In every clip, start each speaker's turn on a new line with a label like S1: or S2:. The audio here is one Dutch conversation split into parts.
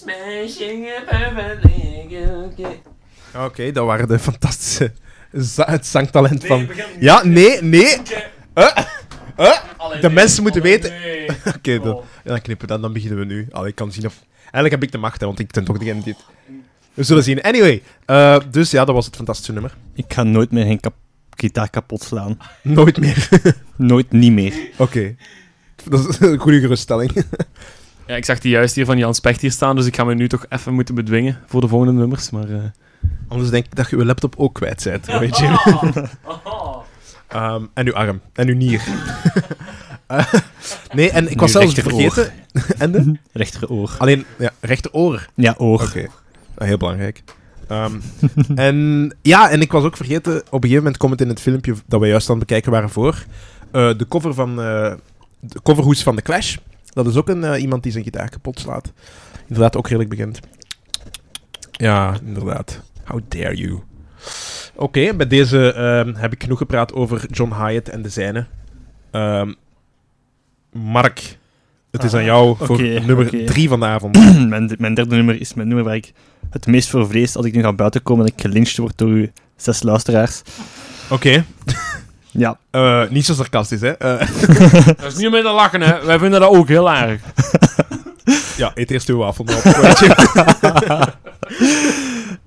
S1: Smashing a perfect okay.
S2: Ah, Oké, dat waren de fantastische. za- het zangtalent van.
S3: begin niet.
S2: Ja, nee, nee.
S3: Oké.
S2: Eh, eh.
S3: Allee,
S2: De
S3: nee,
S2: mensen moeten
S3: allee,
S2: weten-
S3: nee. Oh.
S2: Oké, dan, ja, dan knippen we dat, dan beginnen we nu. Allee, ik kan zien of... Eigenlijk heb ik de macht, hè, want ik ben toch degene die het... We zullen zien. Anyway, eh, dus ja, dat was het fantastische nummer.
S4: Ik ga nooit meer een kap gitaar kapot slaan.
S2: Nooit meer.
S4: Nooit, niet meer.
S2: Oké. Dat is een goede geruststelling.
S3: Ja, ik zag die juist hier van Jan Specht hier staan, dus ik ga me nu toch even moeten bedwingen voor de volgende nummers. Maar, eh,
S2: Anders denk ik dat je je laptop ook kwijt bent, weet je. Ehm, en uw arm. En uw nier. Eh, nee, en ik was
S4: Nu
S2: zelfs
S4: rechteroor.
S2: vergeten... en de?
S4: Rechteroor.
S2: Alleen, ja, rechteroor.
S4: Ja, oor.
S2: Oké. Ah, heel belangrijk. Ehm, en ja, en ik was ook vergeten, op een gegeven moment komt het in het filmpje dat we juist aan het bekijken waren voor, eh, de cover van, eh de coverhoes van The Clash. Dat is ook een, eh, iemand die zijn gitaar kapot slaat. Inderdaad, ook redelijk bekend. Ja, inderdaad. How dare you. Oké, bij deze ehm, heb ik genoeg gepraat over John Hyatt en de zijne. Ehm, Mark, het is
S4: Ah,
S2: aan jou voor
S4: oké,
S2: nummer
S4: oké.
S2: drie van de avond.
S4: mijn, mijn derde nummer is mijn nummer waar ik het meest voor vrees als ik nu ga buiten komen en ik gelyncht word door uw zes luisteraars.
S2: Oké.
S4: Ja,
S2: Eh, niet zo sarcastisch, hè? Eh,
S3: Dat is niet om mee te lachen, hè. Wij vinden dat ook heel erg.
S2: ja, eet eerst uw wafel. maar op, weet je.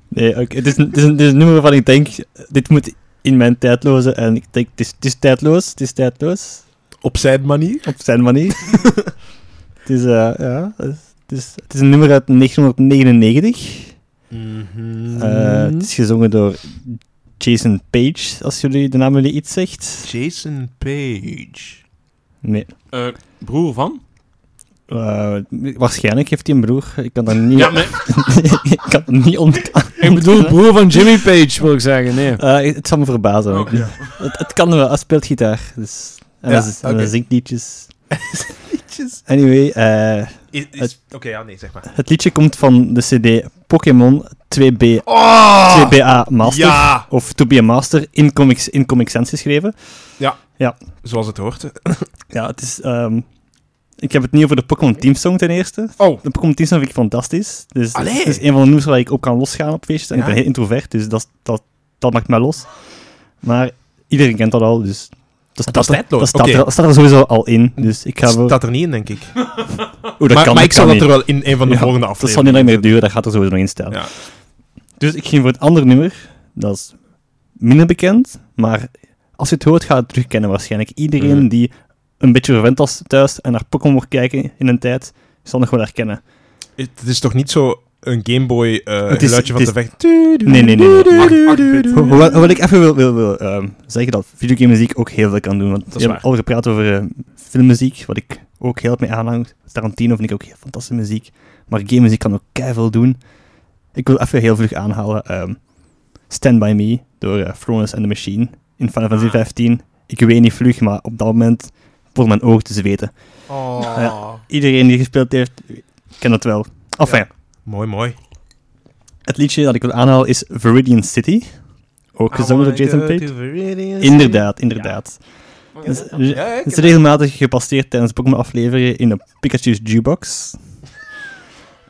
S4: nee, oké, het, is een, het, is een, het is een nummer waarvan ik denk, dit moet in mijn tijdloze en ik denk, het is, het is tijdloos, het is tijdloos,
S2: op zijn manier.
S4: op zijn manier. het, is, eh, ja, het, is, het, is, het is een nummer uit 1999.
S3: Mhm.
S4: Eh, het is gezongen door Jason Page, als jullie de naam jullie iets zegt.
S2: Jason Page.
S4: Nee.
S3: Eh, broer van?
S4: Eh, waarschijnlijk heeft hij een broer. Ik kan dat niet,
S3: Ja, nee.
S4: ik kan dat niet ontkennen.
S3: Ik bedoel, broer van Jimmy Page, wil ik zeggen. Nee.
S4: Eh, het zal me verbazen.
S3: Oké.
S4: Het, het kan wel, hij speelt gitaar. Dus, en
S2: Ja,
S4: hij z- en hij
S2: oké.
S4: zingt liedjes. Anyway, eh, Het-
S2: Oké, ja, nee, zeg maar.
S4: het liedje komt van de CD Pokémon 2B,
S2: Oh!
S4: 2BA Master.
S2: Ja!
S4: Of To Be a Master in Comics, in Comic Sans geschreven.
S2: Zoals het hoort. Oh,
S4: Ja, het is. ehm, ik heb het niet over de Pokémon Team Song ten eerste.
S2: Oh.
S4: De Pokémon Team Song vind ik fantastisch. Dus het
S2: Allee.
S4: is een van de nummers waar ik op kan losgaan op feestjes. En
S2: Ja.
S4: ik ben heel introvert, dus dat, dat, dat maakt mij los. Maar iedereen kent dat al, dus. Dat
S2: is tijdloos,
S4: Dat staat,
S2: oké.
S4: er, dat staat er sowieso al in. Dus ik ga voor.
S2: Staat er niet in, denk ik.
S4: Oeh, dat
S2: maar
S4: kan,
S2: maar ik zal
S4: kan
S2: dat er
S4: niet.
S2: wel in een van de
S4: Ja,
S2: volgende
S4: Dat zal
S2: afleveringen...
S4: niet lang meer duren, dat gaat er sowieso nog in staan.
S2: Ja.
S4: Dus ik ging voor het andere nummer. Dat is minder bekend, maar als je het hoort, gaat het terugkennen waarschijnlijk. Iedereen
S2: Mhm.
S4: die een beetje verwend was thuis en naar Pokémon mocht kijken in een tijd, zal nog wel herkennen.
S2: Het, het is toch niet zo een Gameboy eh
S4: Het is-
S2: geluidje van
S4: het
S2: te
S4: is-
S2: vechten?
S4: nee, nee, nee.
S2: Acht- acht bit.
S4: Ho- Hoewel, hoewel ik even wil, wil, wil ehm, zeggen dat videogame muziek ook heel veel kan doen. Want
S2: is
S4: we hebben
S2: waar.
S4: al gepraat over eh, filmmuziek, wat ik ook heel erg mee aanhang. Tarantino vind ik ook heel fantastische muziek. Maar game muziek kan ook keihard doen. Ik wil even heel vlug aanhalen. ehm, Stand By Me door eh, Florence and the Machine in Final
S2: Ah.
S4: Fantasy 15. Ik weet niet vlug, maar op dat moment begon mijn oog te zweten.
S2: Oh.
S4: Ja. Iedereen die gespeeld heeft, kent dat wel. Enfin,
S2: Mooi, mooi.
S4: het liedje dat ik wil aanhalen is Viridian City. Ook gezongen door Jason Page.
S2: Inderdaad.
S4: Inderdaad, inderdaad. Het is-
S2: Ja, ik
S4: het is
S2: heb-
S4: regelmatig gepasseerd tijdens Pokémon-afleveringen in een Pikachu's jukebox.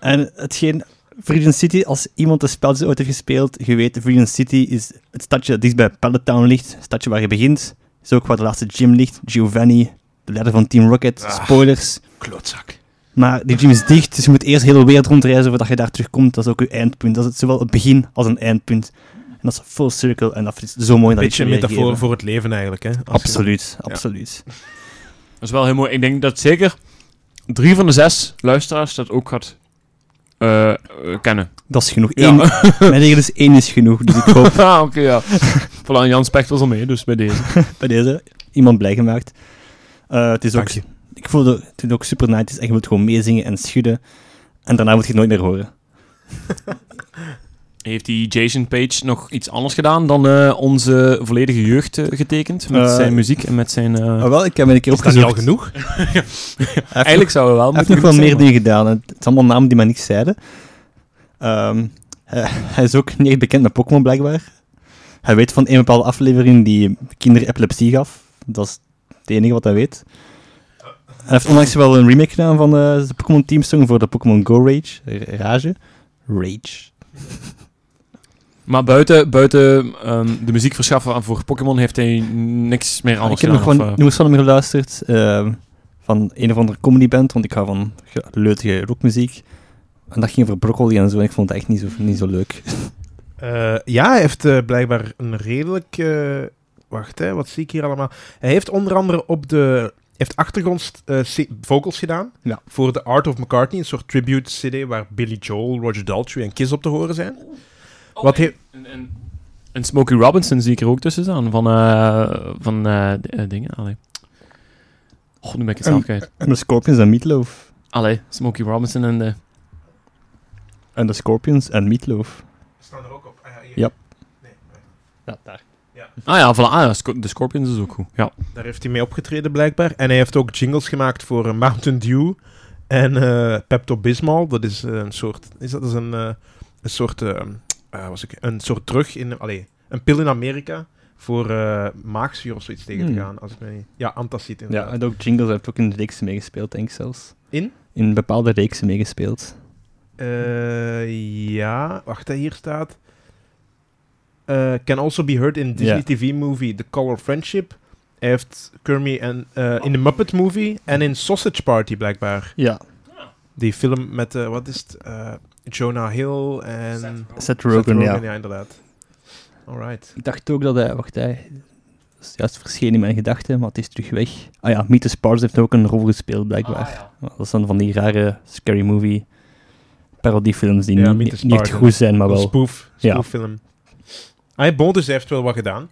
S4: en hetgeen... Freedom City, als iemand de spelletjes ooit heeft gespeeld, je weet, Freedom City is het stadje dat dichtst bij Pallet Town ligt. Het stadje waar je begint. is ook waar de laatste gym ligt. Giovanni, de leider van Team Rocket.
S2: Ah.
S4: Spoilers.
S2: Klootzak.
S4: Maar die gym is dicht, dus je moet eerst heel de wereld rondreizen voordat je daar terugkomt. Dat is ook je eindpunt. Dat is zowel het begin als een eindpunt. En dat is full circle en dat is zo mooi dat
S2: Beetje
S4: ik
S2: een
S4: het wil
S2: metafoor
S4: weergeven.
S2: voor het leven eigenlijk, hè? Als je-
S4: Absoluut, absoluut.
S3: Dat is wel heel mooi. Ik denk dat zeker drie van de zes luisteraars dat ook gaat eh, eh, kennen.
S4: Dat is genoeg.
S3: Ja.
S4: Eén, mijn regel is één is genoeg. Dus ik hoop
S3: Ah, oké, ja. Voilà, Jan Specht was al mee, dus bij deze.
S4: bij deze iemand blij gemaakt. Eh, het is ook,
S2: Dank je.
S4: ik voelde toen ook super night is en je moet gewoon meezingen en schudden. En daarna moet je het nooit meer horen.
S3: Heeft die Jason Page nog iets anders gedaan dan eh, onze volledige jeugd eh, getekend? Met
S4: Eh,
S3: zijn muziek en met zijn... eh,
S4: Maar Ah, wel, ik heb een keer
S2: Is dat niet
S4: opgezocht.
S2: al genoeg?
S3: Eigenlijk zouden we wel
S4: Hij heeft nog
S3: moeten
S4: wel
S3: genoeg
S4: meer
S3: zijn,
S4: dingen gedaan. Het het zijn allemaal namen die mij niks zeiden. Ehm, hij, hij is ook niet echt bekend met Pokémon, blijkbaar. Hij weet van een bepaalde aflevering die kinderen epilepsie gaf. Dat is het enige wat hij weet. Hij heeft onlangs wel een remake gedaan van eh, de Pokémon Team Song voor de Pokémon Go Rage. R- Rage? Rage.
S3: Maar buiten, buiten ehm, de muziekverschaffer voor Pokémon heeft hij niks meer anders
S4: ik heb nog
S3: gedaan,
S4: gewoon
S3: of, eh,
S4: nummers van hem geluisterd. ehm, van een of andere comedyband, want ik hou van ge- leutige rockmuziek. En dat ging over broccoli en zo, en ik vond het echt niet zo, niet zo leuk.
S2: Eh, ja, hij heeft eh, blijkbaar een redelijk... eh, wacht, hè, wat zie ik hier allemaal? Hij heeft onder andere op de... heeft achtergrond eh, c- vocals gedaan
S4: Ja.
S2: voor The Art of McCartney. Een soort tribute CD waar Billy Joel, Roger Daltrey en Kiss op te horen zijn. Wat heeft...
S3: En, en, en Smokey Robinson zie ik er ook tussen staan. Van, eh, van eh, d- eh, dingen. Allee. Oh, nu ben ik het zelf
S4: Ehm,
S3: kwijt.
S4: En de Scorpions en Meatloaf.
S3: Allee, Smokey Robinson en de...
S4: En de Scorpions en Meatloaf.
S2: Staan er ook op? Ah
S4: Ja. Ja, daar.
S3: Ah ja, voilà, ah, ja, Sco- de Scorpions is ook goed. Ja.
S2: Daar heeft hij mee opgetreden blijkbaar. En hij heeft ook jingles gemaakt voor eh, Mountain Dew en eh Pepto-Bismol. Dat is eh, een soort... Is dat dat is een, eh, een soort... eh, eh, was ik, een soort drug in... Allee, een pil in Amerika voor eh, maagzuur of zoiets tegen te
S4: Hmm.
S2: gaan. Als ik me niet- ja, antacid
S4: Ja,
S2: inderdaad.
S4: en ook Jingles heeft ook in de reeksen meegespeeld, denk ik zelfs.
S2: In?
S4: In bepaalde reeksen meegespeeld.
S2: Eh, ja, wacht, hè, hier staat... eh, can also be heard in Disney
S4: Ja.
S2: TV-movie The Color Friendship. Hij heeft Kermit en, eh, in de Muppet Movie en in Sausage Party blijkbaar.
S4: Ja.
S2: Die film met, eh, wat is het? eh, Jonah Hill en...
S4: Seth
S2: Seth
S4: Rogen, ja.
S2: inderdaad. Alright.
S4: Ik dacht ook dat hij, wacht, hij is juist verschenen in mijn gedachten, maar het is terug weg. Ah ja, Meet the Spars heeft ook een rol gespeeld,
S2: Ah,
S4: blijkbaar. Dat is dan van die rare scary movie parodiefilms die
S2: Ja, Meet
S4: niet,
S2: the
S4: niet echt
S2: Spars,
S4: goed zijn, maar
S2: Een
S4: wel...
S2: Spoof,
S4: Ja.
S2: spooffilm. Hij Bontes heeft wel wat gedaan.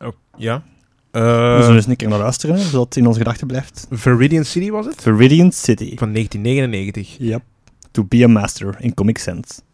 S2: Oh, ja.
S4: We
S2: Eh,
S4: zullen dus een keer naar luisteren, hè, zodat het in onze gedachten blijft.
S2: Viridian Eh, City was het?
S4: Viridian City.
S2: Van 1999.
S4: Yep. To be a master in Comic Sense.